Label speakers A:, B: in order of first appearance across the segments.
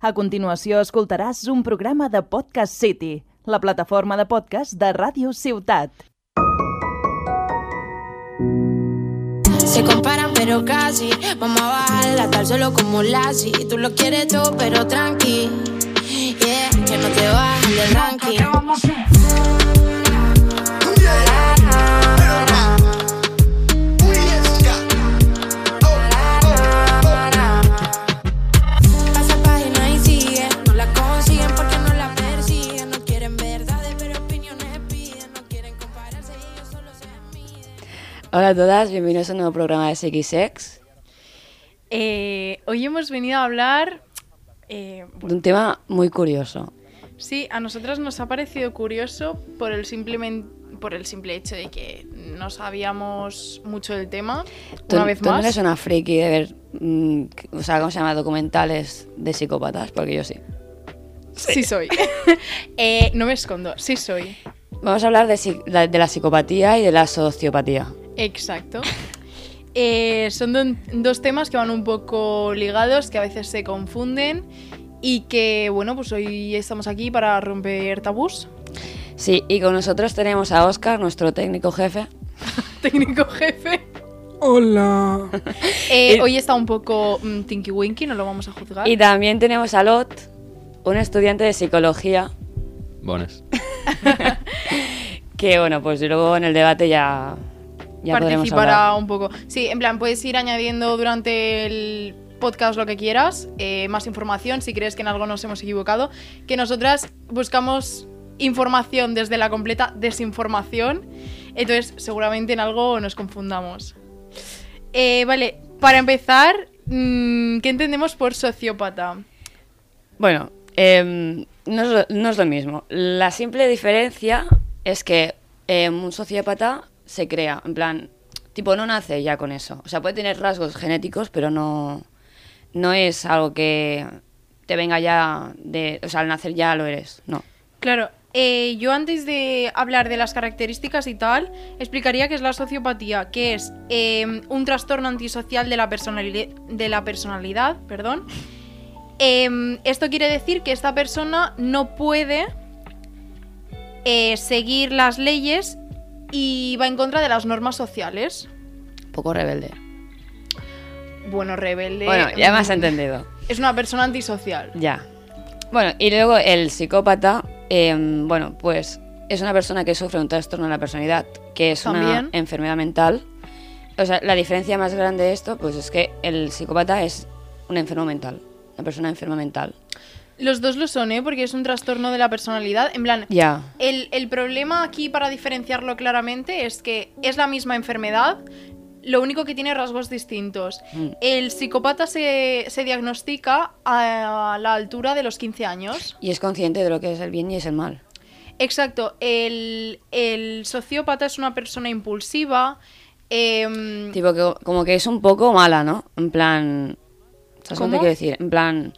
A: A continuació escoltaràs un programa de Podcast City, la plataforma de podcast de Ràdio Ciutat.
B: Se comparan pero casi Vamos a bajarla tal solo como Lassie Tú lo quieres todo pero tranqui Yeah, que no te bajen del ranking Pasa página y sigue No la consiguen porque no la persiguen No quieren verdades pero opiniones piden No quieren compararse y ellos solo se miden
C: Hola a todas, bienvenidos a un nuevo programa de SXX,
D: Eh, hoy hemos venido a hablar. eh,
C: de un tema muy curioso.
D: sí, a nosotras nos ha parecido curioso por el, simplemen- por el simple hecho de que no sabíamos mucho del tema.
C: Tú,
D: una vez
C: tú no
D: más.
C: eres una friki de ver, mm, o sea, ¿cómo se llama? Documentales de psicópatas, porque yo sí.
D: Sí, soy. Eh, no me escondo, sí soy.
C: Vamos a hablar de, psi- la- de la psicopatía y de la sociopatía.
D: Exacto. Eh, son don- dos temas que van un poco ligados, que a veces se confunden. Y que, bueno, pues hoy estamos aquí para romper tabús.
C: Sí, y con nosotros tenemos a Oscar, nuestro técnico jefe.
D: Técnico jefe.
E: Hola.
D: Eh,
C: Y-
D: hoy está un poco mm, Tinky Winky, no lo vamos a juzgar.
C: Y también tenemos a Lot, un estudiante de psicología,
F: Bones.
C: que bueno, pues luego en el debate ya, ya podremos
D: participará
C: hablar.
D: un poco. Sí, en plan, puedes ir añadiendo durante el podcast lo que quieras, eh, más información si crees que en algo nos hemos equivocado, que nosotras buscamos información desde la completa desinformación, entonces seguramente en algo nos confundamos. Eh, vale, para empezar, mm, ¿qué entendemos por sociópata?
C: Bueno, em, no, es lo, no es lo mismo. La simple diferencia es que em, un sociópata se crea, en plan, tipo, no nace ya con eso. O sea, puede tener rasgos genéticos, pero no, no es algo que te venga ya de... O sea, al nacer ya lo eres, no.
D: Claro, eh, yo antes de hablar de las características y tal, explicaría qué es la sociopatía, que es eh, un trastorno antisocial de la, personali- de la personalidad. Perdón. Eh, esto quiere decir que esta persona no puede eh, seguir las leyes y va en contra de las normas sociales.
C: Un poco rebelde.
D: Bueno, rebelde.
C: bueno, ya me has
D: mm,
C: entendido.
D: Es una persona antisocial.
C: Ya. Bueno, y luego el psicópata, em, bueno, pues es una persona que sufre un trastorno de la personalidad, que es
D: También.
C: una enfermedad mental. O sea, la diferencia más grande de esto, pues es que el psicópata es un enfermo mental, una persona enferma mental.
D: Los dos lo son, ¿eh? Porque es un trastorno de la personalidad. En plan,
C: Ya.
D: El, el problema aquí, para diferenciarlo claramente, es que es la misma enfermedad, lo único que tiene rasgos distintos.
C: Mm.
D: El psicópata se, se diagnostica a la altura de los 15 años.
C: Y es consciente de lo que es el bien y es el mal.
D: Exacto, el, el sociópata es una persona impulsiva. em,
C: Tipo que como que es un poco mala, ¿no? En plan... ¿Sabes lo que
D: ¿Cómo?
C: te quiero decir? En plan...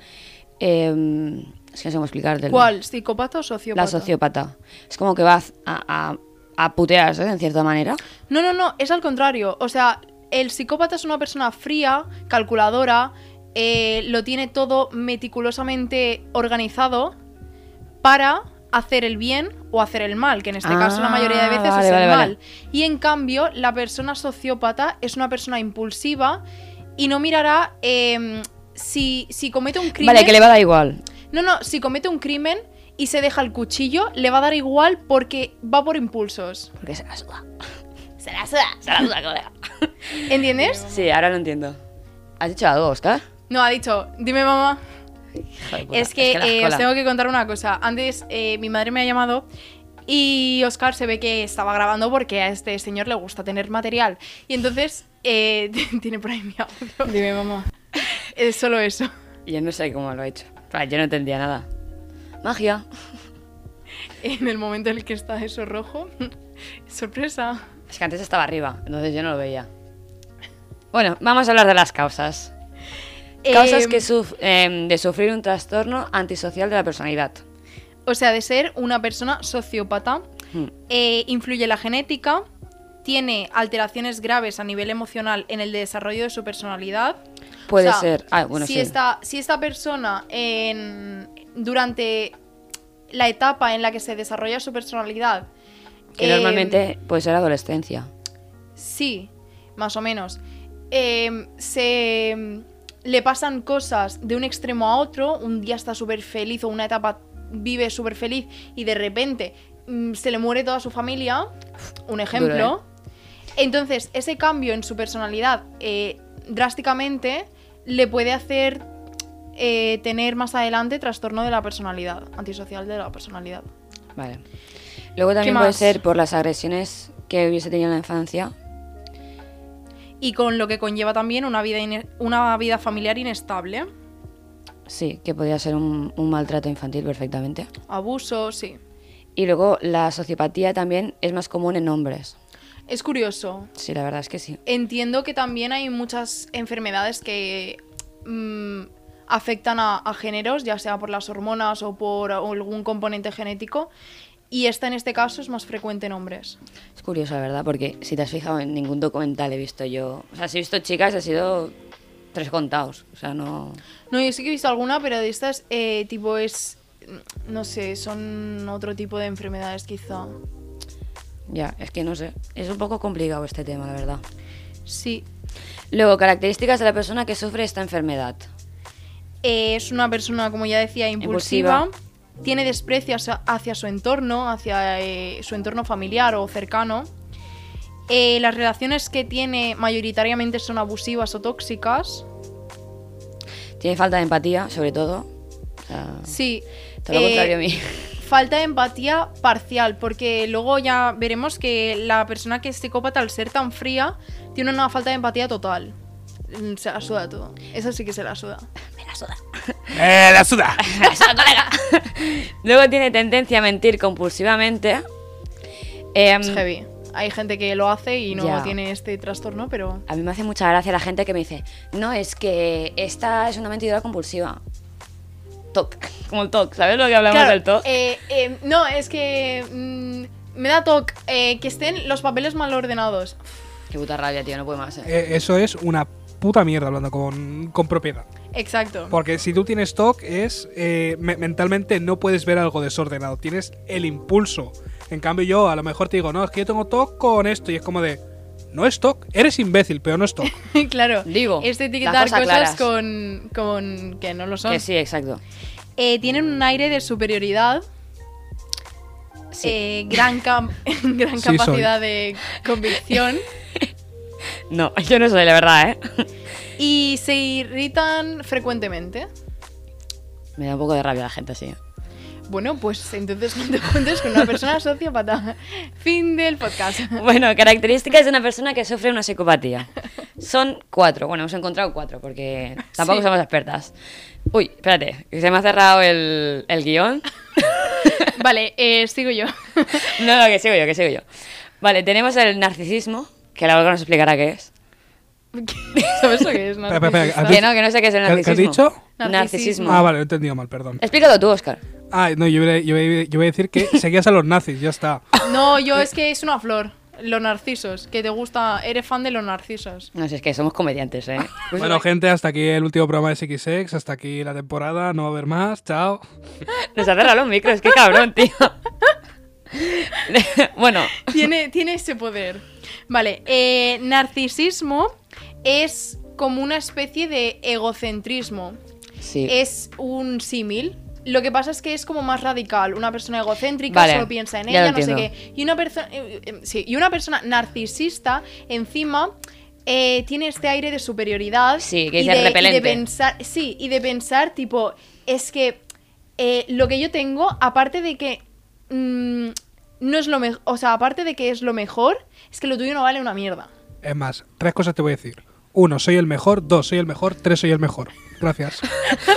C: em, es que no sé cómo explicártelo.
D: ¿Cuál? ¿Psicópata o sociópata?
C: La sociópata. Es como que va a, a, a putearse, en cierta manera.
D: No, no, no, es al contrario. O sea, el psicópata es una persona fría, calculadora, eh, lo tiene todo meticulosamente organizado para hacer el bien o hacer el mal, que en este caso la mayoría de veces
C: Ah, vale,
D: es el
C: vale, vale.
D: mal. Y en cambio, la persona sociópata es una persona impulsiva y no mirará em, si, si comete un crimen.
C: Vale, que le va a dar igual.
D: No, no, si comete un crimen y se deja el cuchillo, le va a dar igual porque va por impulsos.
C: Porque se la suda.
D: Se la suda, se la suda, colega. ¿Entiendes?
C: Sí, ahora lo entiendo. ¿Has dicho algo, Oscar?
D: No, ha dicho, dime mamá.
C: Joder, pues, puta,
D: Es que,
C: la
D: eh, os
C: escuela.
D: tengo que contar una cosa. Antes eh, mi madre me ha llamado y Oscar se ve que estaba grabando porque a este señor le gusta tener material. Y entonces eh, tiene por ahí mi audio. Dime mamá. Es solo eso.
C: Yo no sé cómo lo ha hecho. Claro, yo no entendía nada. Magia.
D: En el momento en el que está eso rojo. Sorpresa.
C: Es que antes estaba arriba, entonces yo no lo veía. Bueno, vamos a hablar de las causas. Causas
D: Em,
C: que suf- em, de sufrir un trastorno antisocial de la personalidad.
D: O sea, de ser una persona sociópata.
C: Hmm.
D: eh, influye la genética, tiene alteraciones graves a nivel emocional en el desarrollo de su personalidad.
C: Puede
D: O sea,
C: ser. Ah, bueno,
D: si
C: sí.
D: Esta, si esta persona en, durante la etapa en la que se desarrolla su personalidad...
C: Que
D: eh,
C: normalmente puede ser adolescencia.
D: Sí, más o menos. Eh, se em, le pasan cosas de un extremo a otro, un día está súper feliz o una etapa vive súper feliz y de repente mm, se le muere toda su familia, un ejemplo. Entonces, ese cambio en su personalidad eh, drásticamente le puede hacer eh, tener más adelante trastorno de la personalidad, antisocial de la personalidad.
C: Vale. Luego también
D: ¿Qué
C: puede
D: más?
C: ser por las agresiones que hubiese tenido en la infancia.
D: Y con lo que conlleva también una vida, ine- una vida familiar inestable.
C: Sí, que podría ser un, un maltrato infantil perfectamente.
D: Abuso, sí.
C: Y luego la sociopatía también es más común en hombres.
D: Es curioso.
C: Sí, la verdad es que sí.
D: Entiendo que también hay muchas enfermedades que mm, afectan a, a géneros, ya sea por las hormonas o por algún componente genético. Y esta en este caso es más frecuente en hombres.
C: Es curioso, la verdad, porque si te has fijado en ningún documental he visto yo. O sea, si he visto chicas, he sido tres contados. O sea, no.
D: No, yo sí que he visto alguna, pero de estas, eh, tipo, es. mm, No sé, son otro tipo de enfermedades quizá.
C: Ya, es que no sé. Es un poco complicado este tema, la verdad.
D: Sí.
C: Luego, características de la persona que sufre esta enfermedad.
D: Eh, es una persona, como ya decía, impulsiva. Tiene desprecio hacia, hacia su entorno, hacia eh, su entorno familiar o cercano. Eh, las relaciones que tiene mayoritariamente son abusivas o tóxicas.
C: Tiene falta de empatía, sobre todo. O sea,
D: Sí.
C: todo lo
D: eh,
C: contrario a mí.
D: Falta de empatía parcial, porque luego ya veremos que la persona que es psicópata, al ser tan fría, tiene una falta de empatía total. Mm, Se la suda todo. Eso sí que se la suda.
E: ¡Eh, la suda!
C: Luego tiene tendencia a mentir compulsivamente. Em,
D: Es heavy. Hay gente que lo hace y no
C: Ya.
D: tiene este trastorno, pero
C: a mí me hace mucha gracia la gente que me dice, no, es que esta es una mentidora compulsiva. TOC, como el TOC, ¿sabes lo que hablamos
D: Claro,
C: del TOC?
D: eh, eh, no, es que mm, me da toque eh, que estén los papeles mal ordenados.
C: Qué puta rabia, tío, no puedo más. eh.
E: Eh, eso es una puta mierda hablando con, con propiedad.
D: Exacto.
E: Porque si tú tienes TOC es eh, me- mentalmente no puedes ver algo desordenado, tienes el impulso. En cambio yo a lo mejor te digo, no, es que yo tengo TOC con esto y es como de, no es TOC, eres imbécil, pero no es TOC.
D: claro. Este
C: Digo,
D: Es de
C: las
D: etiquetar
C: cosas
D: cosas
C: claras.
D: con, con que no lo son.
C: Que sí, exacto.
D: Eh, tienen un aire de superioridad.
C: Sí.
D: eh, gran cam- gran
E: Sí, soy.
D: capacidad de convicción.
C: No, yo no soy, la verdad, ¿eh?
D: y se irritan frecuentemente.
C: Me da un poco de rabia la gente así.
D: Bueno, pues entonces no te juntes con una persona sociópata. Fin del podcast.
C: Bueno, características de una persona que sufre una psicopatía. Son cuatro. Bueno, hemos encontrado cuatro porque tampoco
D: Sí.
C: somos expertas. Uy, espérate, que se me ha cerrado el, el guión.
D: Vale, eh, sigo yo.
C: No, no, que sigo yo, que sigo yo. Vale, tenemos el narcisismo, que la Olga nos explicará qué es.
D: ¿Sabes lo que es?
E: Espera, espera,
D: narcisista?
E: espera, ¿has
C: Que
E: dicho-
C: no, que no sé qué es el
E: ¿Qué- qué has
C: narcisismo.
E: dicho?
C: Narcisismo.
E: Ah, vale, lo he entendido mal, perdón.
C: Explícalo tú, Oscar.
E: Ah, no, yo iba, a- yo iba a- yo iba a decir que seguías a los nazis, ya está.
D: No, yo es que es una flor. Los narcisos. Que te gusta. Eres fan de los narcisos.
C: No, si es que somos comediantes, ¿eh?
E: Bueno, gente, hasta aquí el último programa de SXX, hasta aquí la temporada, no va a haber más, chao.
C: Nos ha cerrado los micros, qué cabrón, tío. bueno,
D: Tiene, tiene ese poder. Vale, eh, narcisismo es como una especie de egocentrismo.
C: sí.
D: Es un símil. Lo que pasa es que es como más radical. Una persona egocéntrica
C: Vale,
D: solo piensa en
C: ya lo
D: ella, no sé
C: entiendo.
D: qué. Y una, persona em, sí, y una persona narcisista, encima, eh, tiene este aire de superioridad.
C: Sí, que
D: y
C: es
D: de, y de
C: repelente.
D: pensar, sí, y de pensar, tipo, es que eh, lo que yo tengo, aparte de que. mm, no es lo mejor. O sea, aparte de que es lo mejor, es que lo tuyo no vale una mierda.
E: Es más, tres cosas te voy a decir. Uno, soy el mejor, dos, soy el mejor, tres, soy el mejor. Gracias.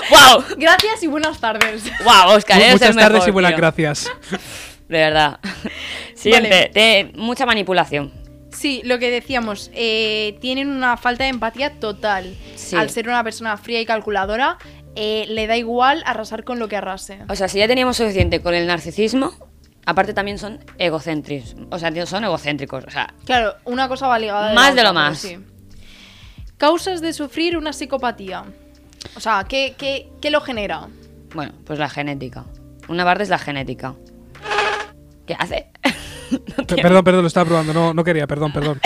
C: ¡Wow!
D: Gracias y buenas tardes.
C: ¡Wow, Oscar! eres el
E: Muchas tardes
C: mejor,
E: y buenas
C: tío.
E: gracias.
C: De verdad. Siguiente. te- mucha manipulación.
D: Sí, lo que decíamos, eh, tienen una falta de empatía total.
C: Sí.
D: Al ser una persona fría y calculadora, eh, le da igual arrasar con lo que arrase.
C: O sea, si ya teníamos suficiente con el narcisismo, aparte también son egocéntricos. O sea, tío, son egocéntricos. O sea,
D: Claro, una cosa va ligada. a la
C: Más de
D: otra,
C: lo
D: pero
C: más.
D: sí. Causas de sufrir una psicopatía. O sea, ¿qué, qué, qué lo genera?
C: bueno, pues la genética. Una parte es la genética. ¿Qué hace?
E: Pe- Perdón, perdón, lo estaba probando. No, no quería, perdón, perdón.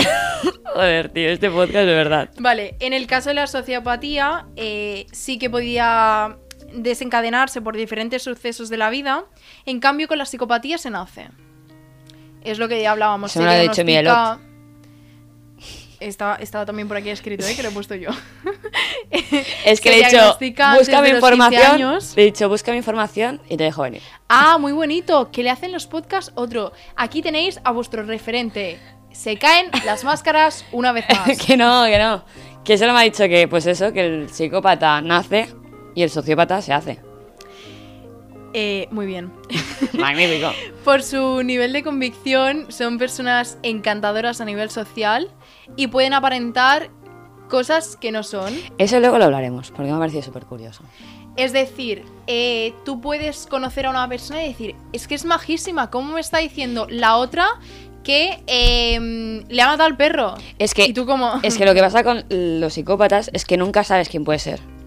C: Joder, tío, este podcast de verdad.
D: Vale, en el caso de la sociopatía, eh, sí que podía desencadenarse por diferentes sucesos de la vida. En cambio, con la psicopatía se nace. Es lo que ya hablábamos.
C: Eso me
D: se
C: lo ha dicho
D: diagnostica- Estaba, estaba también por aquí escrito, ¿eh? que lo he puesto yo.
C: Es que
D: Se
C: le he dicho,
D: diagnostica antes
C: busca mi
D: de los 15
C: información.
D: años.
C: Le he dicho, busca mi información y te dejo venir.
D: Ah, muy bonito. ¿Qué le hacen los podcasts? Otro. Aquí tenéis a vuestro referente. Se caen las máscaras una vez más.
C: que no, que no. Que solo me ha dicho que, pues eso, que el psicópata nace y el sociópata se hace.
D: Eh, muy bien.
C: Magnífico.
D: Por su nivel de convicción, son personas encantadoras a nivel social y pueden aparentar cosas que no son.
C: Eso luego lo hablaremos, porque me ha parecido súper curioso.
D: Es decir, eh, tú puedes conocer a una persona y decir, es que es majísima, ¿cómo me está diciendo la otra que eh, le ha matado al perro?
C: Es que,
D: Y tú como...
C: es que lo que pasa con los psicópatas es que nunca sabes quién puede ser.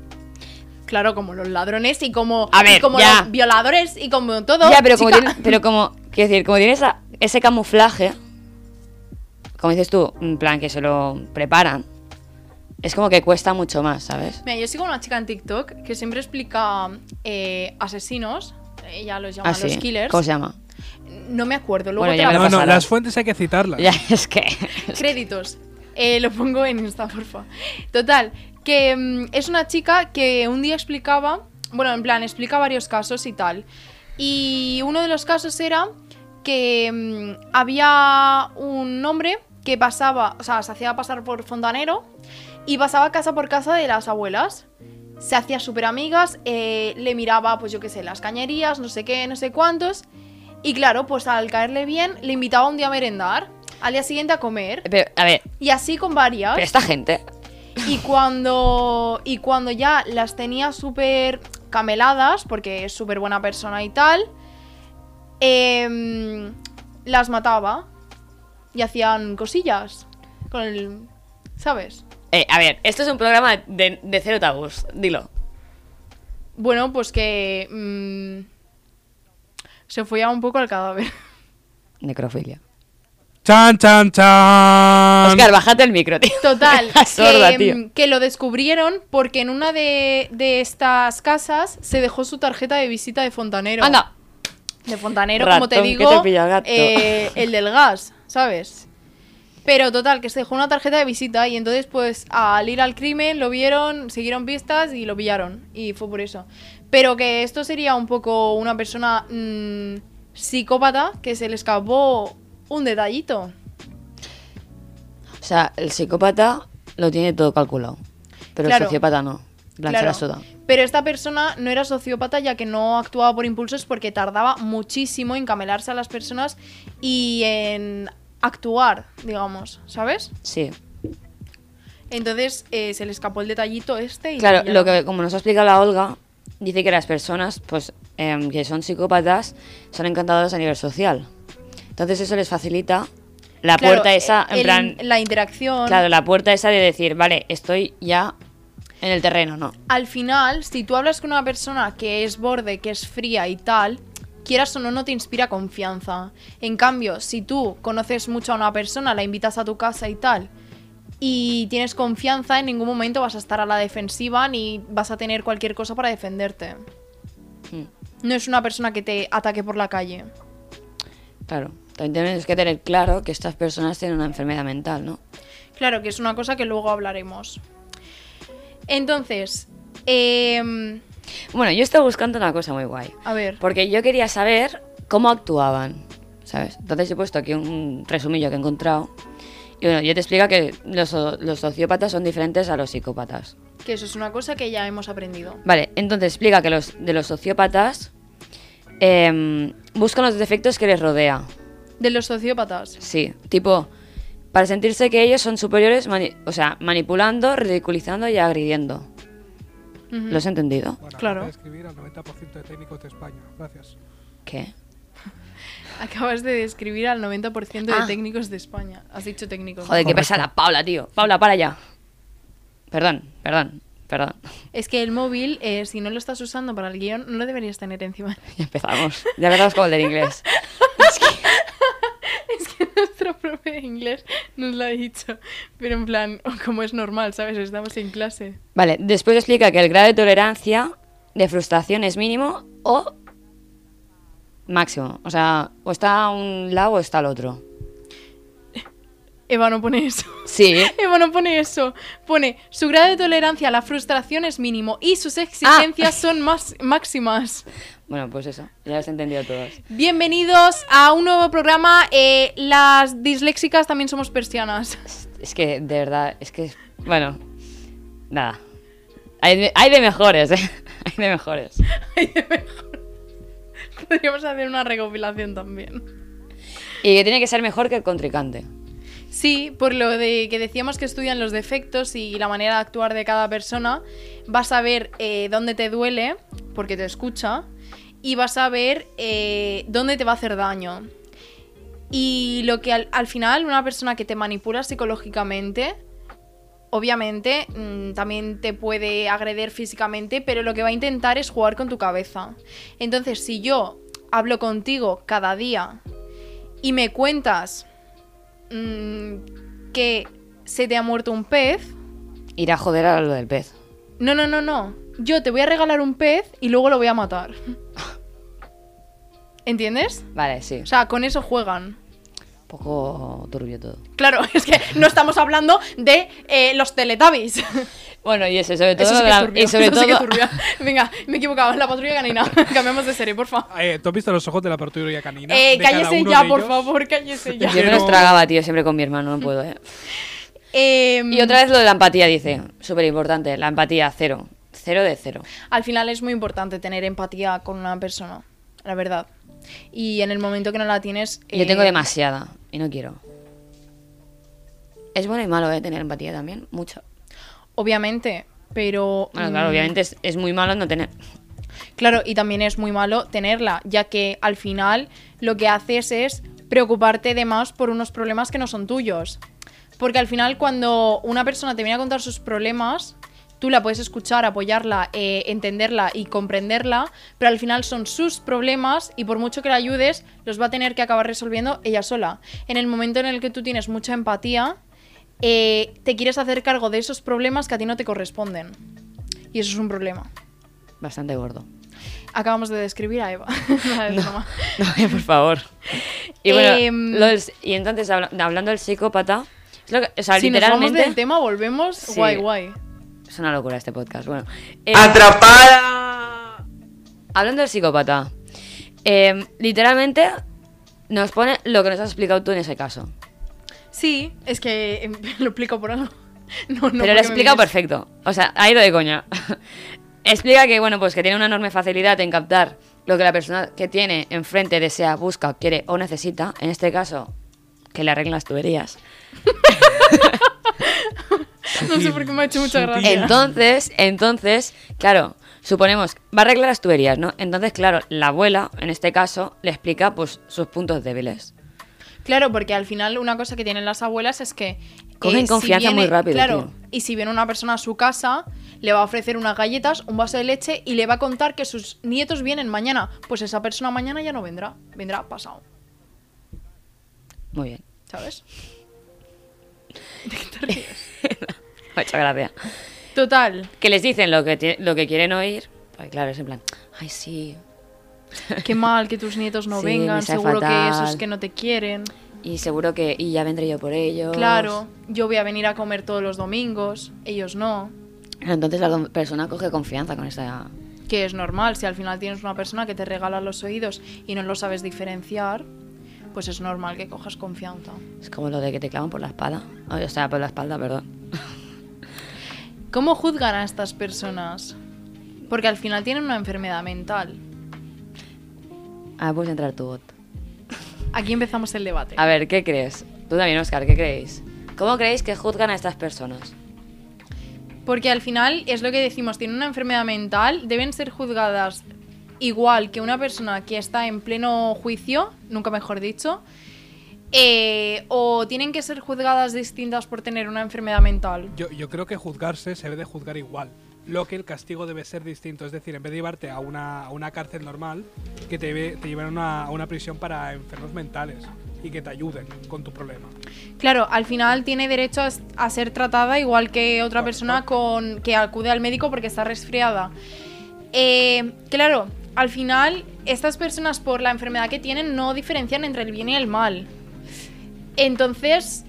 D: Claro, como los ladrones y como,
C: A ver,
D: y como
C: ya.
D: los violadores y como todo.
C: ya, pero como,
D: chica.
C: tiene- pero como, quiero decir, como tiene esa- ese camuflaje, como dices tú, en plan que se lo preparan, es como que cuesta mucho más, ¿sabes?
D: Mira, yo sigo una chica en TikTok que siempre explica eh, asesinos. Ella los llama
C: Así.
D: los killers.
C: ¿Cómo se llama?
D: No me acuerdo, luego
C: Bueno,
D: te
C: ya
D: la
C: me lo
E: No, no,
C: pasará.
E: las fuentes hay que citarlas.
C: Ya, es que.
D: Créditos. Eh, lo pongo en Insta, porfa. Total, que mm, es una chica que un día explicaba, bueno, en plan, explica varios casos y tal. Y uno de los casos era que mm, había un hombre que pasaba, o sea, se hacía pasar por fontanero y pasaba casa por casa de las abuelas. Se hacía súper amigas, eh, le miraba, pues yo qué sé, las cañerías, no sé qué, no sé cuántos. Y claro, pues al caerle bien, le invitaba un día a merendar, al día siguiente a comer.
C: Pero, a ver,
D: Y así con varias.
C: pero esta gente.
D: Y cuando, y cuando ya las tenía súper cameladas, porque es súper buena persona y tal, em, las mataba y hacían cosillas con el... ¿Sabes?
C: Eh, a ver, esto es un programa de, de cero tabús, dilo.
D: Bueno, pues que... mm, se follaba un poco al cadáver.
C: Necrofilia.
E: Chan, chan, chan.
C: Oscar, bájate el micro, tío.
D: Total,
C: Me dejas sorda,
D: que,
C: tío.
D: mm, que lo descubrieron porque en una de, de estas casas se dejó su tarjeta de visita de fontanero.
C: Anda.
D: de fontanero, como te
C: Ratón que
D: digo,
C: te pilla el gato.
D: eh, el del gas, ¿sabes? Pero total, que se dejó una tarjeta de visita y entonces pues al ir al crimen lo vieron, siguieron pistas y lo pillaron. Y fue por eso. Pero que esto sería un poco una persona mm, psicópata que se le escapó un detallito.
C: O sea, el psicópata lo tiene todo calculado. Pero
D: Claro.
C: el sociópata no. La
D: Claro.
C: la soda.
D: Pero esta persona no era sociópata ya que no actuaba por impulsos porque tardaba muchísimo en camelarse a las personas y en actuar, digamos, ¿sabes?
C: Sí.
D: Entonces eh, se le escapó el detallito este y...
C: Claro,
D: ya.
C: lo que, como nos ha explicado la Olga, dice que las personas pues, em, que son psicópatas son encantadoras a nivel social. Entonces eso les facilita la
D: Claro, eh,
C: puerta esa, en
D: el-
C: plan...
D: La interacción...
C: Claro, la puerta esa de decir, vale, estoy ya en el terreno, ¿no?
D: Al final, si tú hablas con una persona que es borde, que es fría y tal, quieras o no, no te inspira confianza. En cambio, si tú conoces mucho a una persona, la invitas a tu casa y tal, y tienes confianza, en ningún momento vas a estar a la defensiva ni vas a tener cualquier cosa para defenderte.
C: Mm,
D: No es una persona que te ataque por la calle.
C: Claro. También tienes que tener claro que estas personas tienen una enfermedad mental, ¿no?
D: Claro, que es una cosa que luego hablaremos. Entonces, em,
C: Bueno, yo estaba buscando una cosa muy guay.
D: a ver.
C: Porque yo quería saber cómo actuaban, ¿sabes? Entonces he puesto aquí un resumillo que he encontrado. Y bueno, yo te explica que los, los sociópatas son diferentes a los psicópatas.
D: Que eso es una cosa que ya hemos aprendido.
C: Vale, entonces explica que los de los sociópatas em, buscan los defectos que les rodea.
D: De los sociópatas.
C: Sí, tipo, para sentirse que ellos son superiores, mani- o sea, manipulando, ridiculizando y agrediendo.
D: Ujú.
C: ¿Lo has entendido?
E: Bueno,
D: Claro.
E: voy a escribir al 90% de técnicos de España. Gracias.
C: ¿Qué?
D: Acabas de describir al 90% de
C: Ah.
D: técnicos de España. Has dicho técnicos.
C: Joder, qué
E: Correcto.
C: pesada. Paula, tío. Paula, para ya. Perdón, perdón, perdón.
D: Es que el móvil, eh, si no lo estás usando para el guión, no lo deberías tener encima.
C: Ya empezamos. Ya empezamos con el del inglés.
D: es que nuestro profe de inglés nos lo ha dicho. Pero en plan, como es normal, ¿sabes? Estamos en clase.
C: Vale, después explica que el grado de tolerancia de frustración es mínimo o máximo. O sea, o está a un lado o está al otro.
D: Eva no pone eso.
C: Sí.
D: Eva no Eh, pone eso. Pone, su grado de tolerancia a la frustración es mínimo y sus exigencias son más máximas.
C: Bueno, pues eso. Ya los he entendido todos.
D: Bienvenidos a un nuevo programa. eh, las disléxicas también somos persianas.
C: Es- Es que, de verdad, es que. Bueno, nada. Hay de, hay de mejores, ¿eh? Hay de mejores.
D: Podríamos hacer una recopilación también.
C: Y que tiene que ser mejor que el contrincante.
D: Sí, por lo de que decíamos que estudian los defectos y la manera de actuar de cada persona, vas a ver eh, dónde te duele, porque te escucha, y vas a ver eh, dónde te va a hacer daño. Y lo que al, al final una persona que te manipula psicológicamente, obviamente mm, también te puede agredir físicamente, pero lo que va a intentar es jugar con tu cabeza. Entonces, si yo hablo contigo cada día y me cuentas mm, que se te ha muerto un pez,
C: Ir a joder a lo del pez.
D: no, no, no, no. Yo te voy a regalar un pez y luego lo voy a matar. ¿Entiendes?
C: Vale, sí.
D: O sea, con eso juegan.
C: Un poco turbio todo.
D: Claro, es que no estamos hablando de eh, los Teletubbies.
C: Bueno, y eso, sobre todo.
D: Eso sí que es
C: la-
D: turbio.
C: y sobre
D: eso sí que es
C: todo-
D: turbio. Venga, me he equivocado. La patrulla canina. Cambiamos de serie, por favor.
E: Eh, ¿Tú has visto los ojos de la apertura canina?
D: Eh,
E: De cada
D: cállese
E: uno
D: ya,
E: de
D: por
E: ellos.
D: favor, cállese ya.
C: Yo me los
E: Pero-
C: tragaba, tío, siempre con mi hermano, no puedo, ¿eh?
D: Eh,
C: Y otra vez lo de la empatía, dice. Súper importante. La empatía, cero. Cero de cero.
D: Al final es muy importante tener empatía con una persona, la verdad. Y en el momento que no la tienes.
C: Yo
D: eh,
C: tengo demasiada y no quiero. Es bueno y malo, ¿eh? Tener empatía también. Mucho.
D: Obviamente, pero.
C: Bueno, claro,
D: mm,
C: obviamente es, es muy malo no tener.
D: Claro, y también es muy malo tenerla, ya que al final lo que haces es preocuparte de más por unos problemas que no son tuyos. Porque al final cuando una persona te viene a contar sus problemas, tú la puedes escuchar, apoyarla, eh, entenderla y comprenderla, pero al final son sus problemas y por mucho que la ayudes, los va a tener que acabar resolviendo ella sola. En el momento en el que tú tienes mucha empatía, eh, te quieres hacer cargo de esos problemas que a ti no te corresponden. Y eso es un problema.
C: Bastante gordo.
D: Acabamos de describir a Eva. Nada, es broma.
C: No, eh, por favor. Y bueno,
D: Em,
C: lo del- y entonces habla- hablando del psicópata, es lo que- o sea,
D: si nos vamos
C: literalmente
D: del tema, volvemos.
C: Sí.
D: Guay, guay.
C: es una locura este podcast. Bueno, eh,
F: Atrapada.
C: hablando del psicópata, em, literalmente nos pone lo que nos has explicado tú en ese caso.
D: Sí, es que em, lo explico por algo. No, no
C: Pero lo
D: porque me
C: he explicado
D: mires.
C: perfecto. O sea, ha ido de coña. Explica que, bueno, pues que tiene una enorme facilidad en captar lo que la persona que tiene enfrente desea, busca, quiere o necesita. En este caso, que le arreglen las tuberías.
D: No sé por qué me ha hecho mucha
E: Sutil.
D: gracia.
C: Entonces, entonces, claro, suponemos, va a arreglar las tuberías, ¿no? Entonces, claro, la abuela, en este caso, le explica pues sus puntos débiles.
D: Claro, porque al final una cosa que tienen las abuelas es que... eh,
C: Cogen confianza muy rápido,
D: Claro,
C: tío.
D: y si viene una persona a su casa, le va a ofrecer unas galletas, un vaso de leche y le va a contar que sus nietos vienen mañana. Pues esa persona mañana ya no vendrá, vendrá pasado,
C: Muy bien.
D: ¿sabes?
C: Muchas gracias.
D: Total,
C: Que les dicen lo que, ti- lo que quieren oír. Pues claro, es en plan, ay, sí.
D: Qué mal que tus nietos no
C: Sí, me
D: vengan,
C: sabe
D: seguro que
C: fatal.
D: esos que no te quieren.
C: Y seguro que, y ya vendré yo por ellos.
D: Claro, yo voy a venir a comer todos los domingos, ellos no.
C: Entonces la con- persona coge confianza con esa...
D: Que es normal, si al final tienes una persona que te regala los oídos y no lo sabes diferenciar, pues es normal que cojas confianza.
C: Es como lo de que te clavan por la espada. Ay, O sea, por la espalda, perdón.
D: ¿Cómo juzgan a estas personas? Porque al final tienen una enfermedad mental.
C: Ah, puedes entrar tu bot.
D: Aquí empezamos el debate.
C: A ver, ¿qué crees? Tú también, Oscar, ¿qué creéis? ¿Cómo creéis que juzgan a estas personas?
D: Porque al final es lo que decimos, tienen una enfermedad mental, deben ser juzgadas igual que una persona que está en pleno juicio, nunca mejor dicho, eh, o tienen que ser juzgadas distintas por tener una enfermedad mental.
E: Yo, yo creo que juzgarse se debe de juzgar igual. Lo que el castigo debe ser distinto. Es decir, en vez de llevarte a una, a una cárcel normal, que te, lleve- te lleven a una, a una prisión para enfermos mentales y que te ayuden con tu problema.
D: Claro, al final tiene derecho a, s- a ser tratada igual que otra persona con, que acude al médico porque está resfriada. Eh, claro, al final estas personas por la enfermedad que tienen no diferencian entre el bien y el mal. Entonces,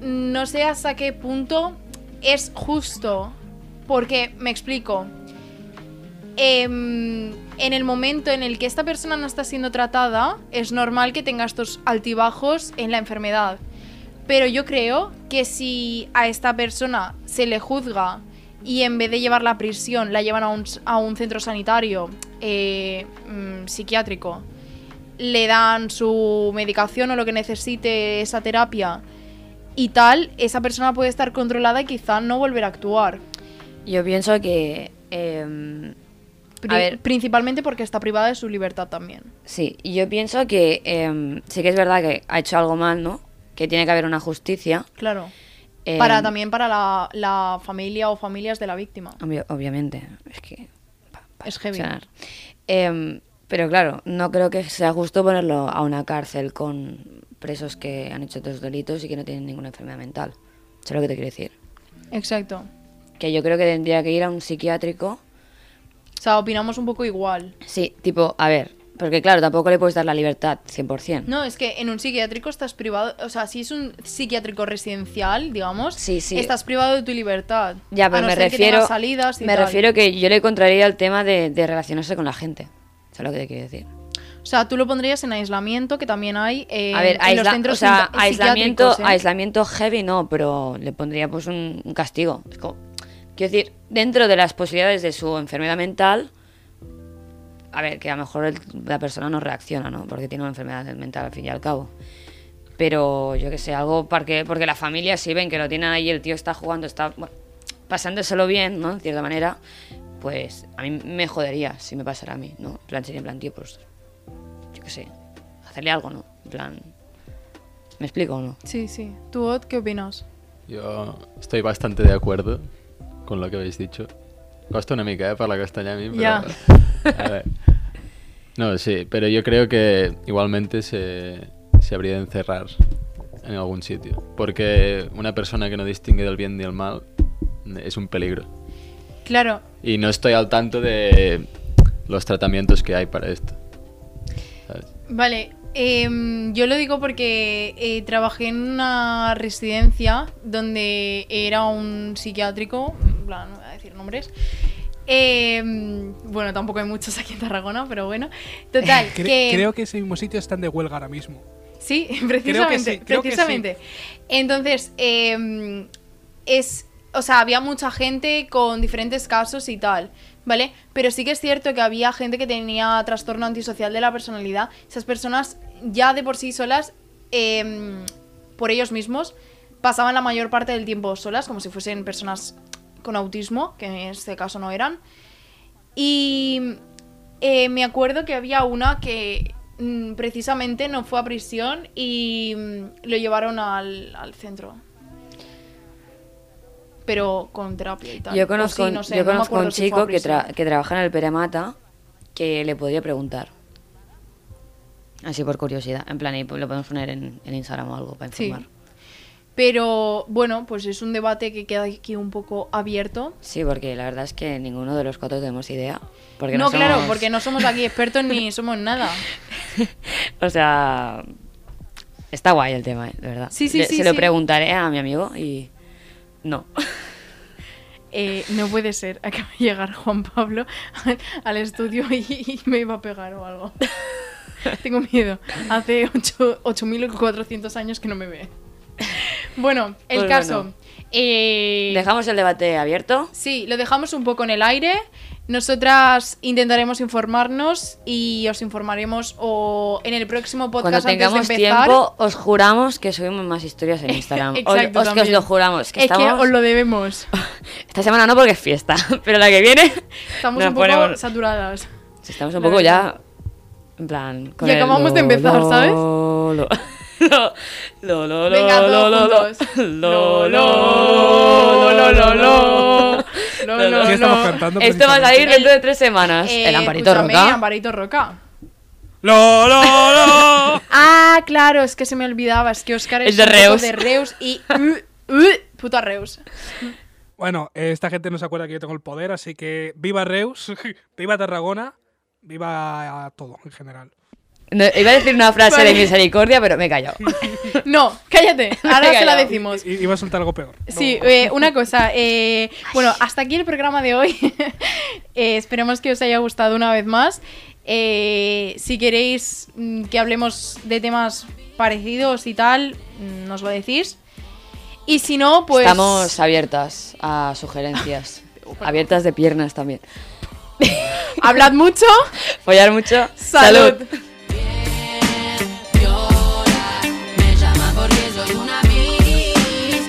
D: no sé hasta qué punto es justo, porque me explico. Em, en el momento en el que esta persona no está siendo tratada, es normal que tenga estos altibajos en la enfermedad. Pero yo creo que si a esta persona se le juzga y en vez de llevarla a prisión la llevan a un, s- a un centro sanitario eh, mm, psiquiátrico, le dan su medicación o lo que necesite esa terapia y tal, esa persona puede estar controlada y quizá no volver a actuar.
C: Yo pienso que. em,
D: Pri-
C: a ver,
D: Principalmente porque está privada de su libertad también.
C: sí, yo pienso que em, sí que es verdad que ha hecho algo mal, ¿no? Que tiene que haber una justicia.
D: Claro.
C: em,
D: para también para la, la familia o familias de la víctima.
C: obvio- obviamente, es que. pa- pa-
D: Es heavy.
C: sonar. Em, pero claro, no creo que sea justo ponerlo a una cárcel con presos que han hecho otros delitos y que no tienen ninguna enfermedad mental. Eso es lo que te quiero decir.
D: Exacto.
C: Que yo creo que tendría que ir a un psiquiátrico
D: O sea, opinamos un poco igual.
C: Sí, tipo, a ver, porque claro, tampoco le puedes dar la libertad 100%.
D: No, es que en un psiquiátrico estás privado, o sea, si es un psiquiátrico residencial, digamos,
C: Sí, sí.
D: estás privado de tu libertad.
C: Ya, pero
D: a no
C: me
D: ser que
C: refiero
D: tengas salidas y
C: me
D: tal.
C: refiero que yo le contraría el tema de, de relacionarse con la gente. Eso es lo que te quiero decir.
D: O sea, tú lo pondrías en aislamiento, que también hay eh,
C: a ver,
D: en los
C: aisla-
D: centros
C: o sea,
D: psiqui-
C: aislamiento,
D: psiquiátricos, ¿eh?
C: aislamiento heavy no, pero le pondría pues un, un castigo. Es como- quiero decir, dentro de las posibilidades de su enfermedad mental, a ver, que a lo mejor el- la persona no reacciona, ¿no? Porque tiene una enfermedad mental al fin y al cabo. Pero yo que sé, algo porque, porque la familia sí ven que lo tienen ahí, el tío está jugando, está bueno, pasándoselo bien, ¿no? En cierta manera, pues a mí me jodería si me pasara a mí, ¿no? En plan, sería en plan, tío, pues yo qué sé, hacerle algo, ¿no? En plan, ¿me explico o no?
D: Sí, sí. ¿Tú, Ot, qué opinas?
G: Jo estic bastant de acuerdo con lo que habéis dicho. Costa una mica, eh, parlar castellà a mi, però...
D: Ja.
G: A ver. No, sí, pero yo creo que igualmente se, se habría de encerrar en algún sitio. Porque una persona que no distingue del bien ni del mal mm, es un peligro.
D: Claro,
G: Y no estoy al tanto de los tratamientos que hay para esto. ¿sabes?
D: Vale, em, yo lo digo porque eh, trabajé en una residencia donde era un psiquiátrico, en plan, no voy a decir nombres. Em, bueno, tampoco hay muchos aquí en Tarragona, pero bueno. Total,
E: Cre-
D: que...
E: Creo que ese mismo sitio están de huelga ahora mismo.
D: Sí, precisamente.
E: sí, creo que sí.
D: precisamente. Entonces, eh, es. O sea, había mucha gente con diferentes casos y tal, ¿vale? Pero sí que es cierto que había gente que tenía trastorno antisocial de la personalidad. Esas personas ya de por sí solas, eh, por ellos mismos, pasaban la mayor parte del tiempo solas, como si fuesen personas con autismo, que en este caso no eran. Y eh, me acuerdo que había una que mm, precisamente no fue a prisión y mm, lo llevaron al, al centro. Pero con terapia y tal.
C: Yo
D: O
C: conozco,
D: Pues sí,
C: un-
D: no sé,
C: yo
D: no me
C: conozco
D: acuerdo
C: un
D: si fue a
C: chico que,
D: prisión.
C: tra- que trabaja en el Peremata que le podría preguntar. Así por curiosidad. En plan, y lo podemos poner en, en Instagram o algo para
D: Sí.
C: informar.
D: Pero bueno, pues es un debate que queda aquí un poco abierto.
C: Sí, porque la verdad es que ninguno de los cuatro tenemos idea. Porque
D: no,
C: no, somos-
D: claro, porque no somos aquí expertos ni somos nada.
C: O sea, está guay el tema, eh, de verdad.
D: Sí, sí,
C: Le-
D: sí,
C: Se lo
D: sí.
C: preguntaré a mi amigo y... No.
D: Eh, no puede ser, acaba de llegar Juan Pablo al, al estudio y, y me iba a pegar o algo. Tengo miedo. Hace ocho- 8.400 años que no me ve. Bueno, el
C: Pues
D: caso.
C: bueno.
D: eh,
C: Dejamos el debate abierto.
D: Sí, lo dejamos un poco en el aire. Nosotras intentaremos informarnos y os informaremos o en el próximo podcast
C: Cuando tengamos
D: antes de empezar.
C: tiempo, os juramos que subimos más historias en Instagram. Os-
D: Exacto,
C: os, que os
D: también.
C: lo juramos. Que
D: es
C: estamos...
D: que os lo debemos.
C: Esta semana no porque es fiesta, pero la que viene
D: Estamos
C: nos
D: un poco
C: ponemos-
D: saturadas.
C: Si estamos un
D: La
C: poco
D: verdad.
C: ya. En plan.
D: Y acabamos de empezar, ¿sabes?
C: Lo, lo, lo, lo, lo,
D: Venga,
C: lo,
D: todos
C: lo,
D: juntos.
C: lo, lo, lo, lo, lo, lo.
D: Lo,
C: Lo,
D: lo,
E: Sí, estamos
D: lo.
E: cantando
C: Esto va a
E: precisamente.
C: salir dentro de tres semanas.
D: Eh,
C: el Amparito
D: escúchame,
C: Roca.
D: Amparito Roca.
E: ¡Lo, lo, lo!
D: Ah, claro, es que se me olvidaba, es que Oscar
C: Es
D: es,
C: de
D: un poco
C: Reus.
D: de Reus y... uh, uh, puto Reus.
E: Bueno, eh, esta gente no se acuerda que yo tengo el poder, así que viva Reus, viva Tarragona, viva a todo en general.
C: No, iba a decir una frase
D: Vale.
C: de misericordia, pero me he callado.
D: No, cállate, ahora
C: Venga,
D: se la
C: ya.
D: decimos.
E: I- iba a soltar algo peor.
D: Sí, eh, una cosa. eh, bueno, hasta aquí el programa de hoy. Eh, esperemos que os haya gustado una vez más. Eh, si queréis mm, que hablemos de temas parecidos y tal, mm, nos lo decís. Y si no, pues...
C: Estamos abiertas a sugerencias. abiertas de piernas también.
D: Hablad mucho.
C: Follar mucho.
D: Salud.
B: Llora, me llama porque soy una business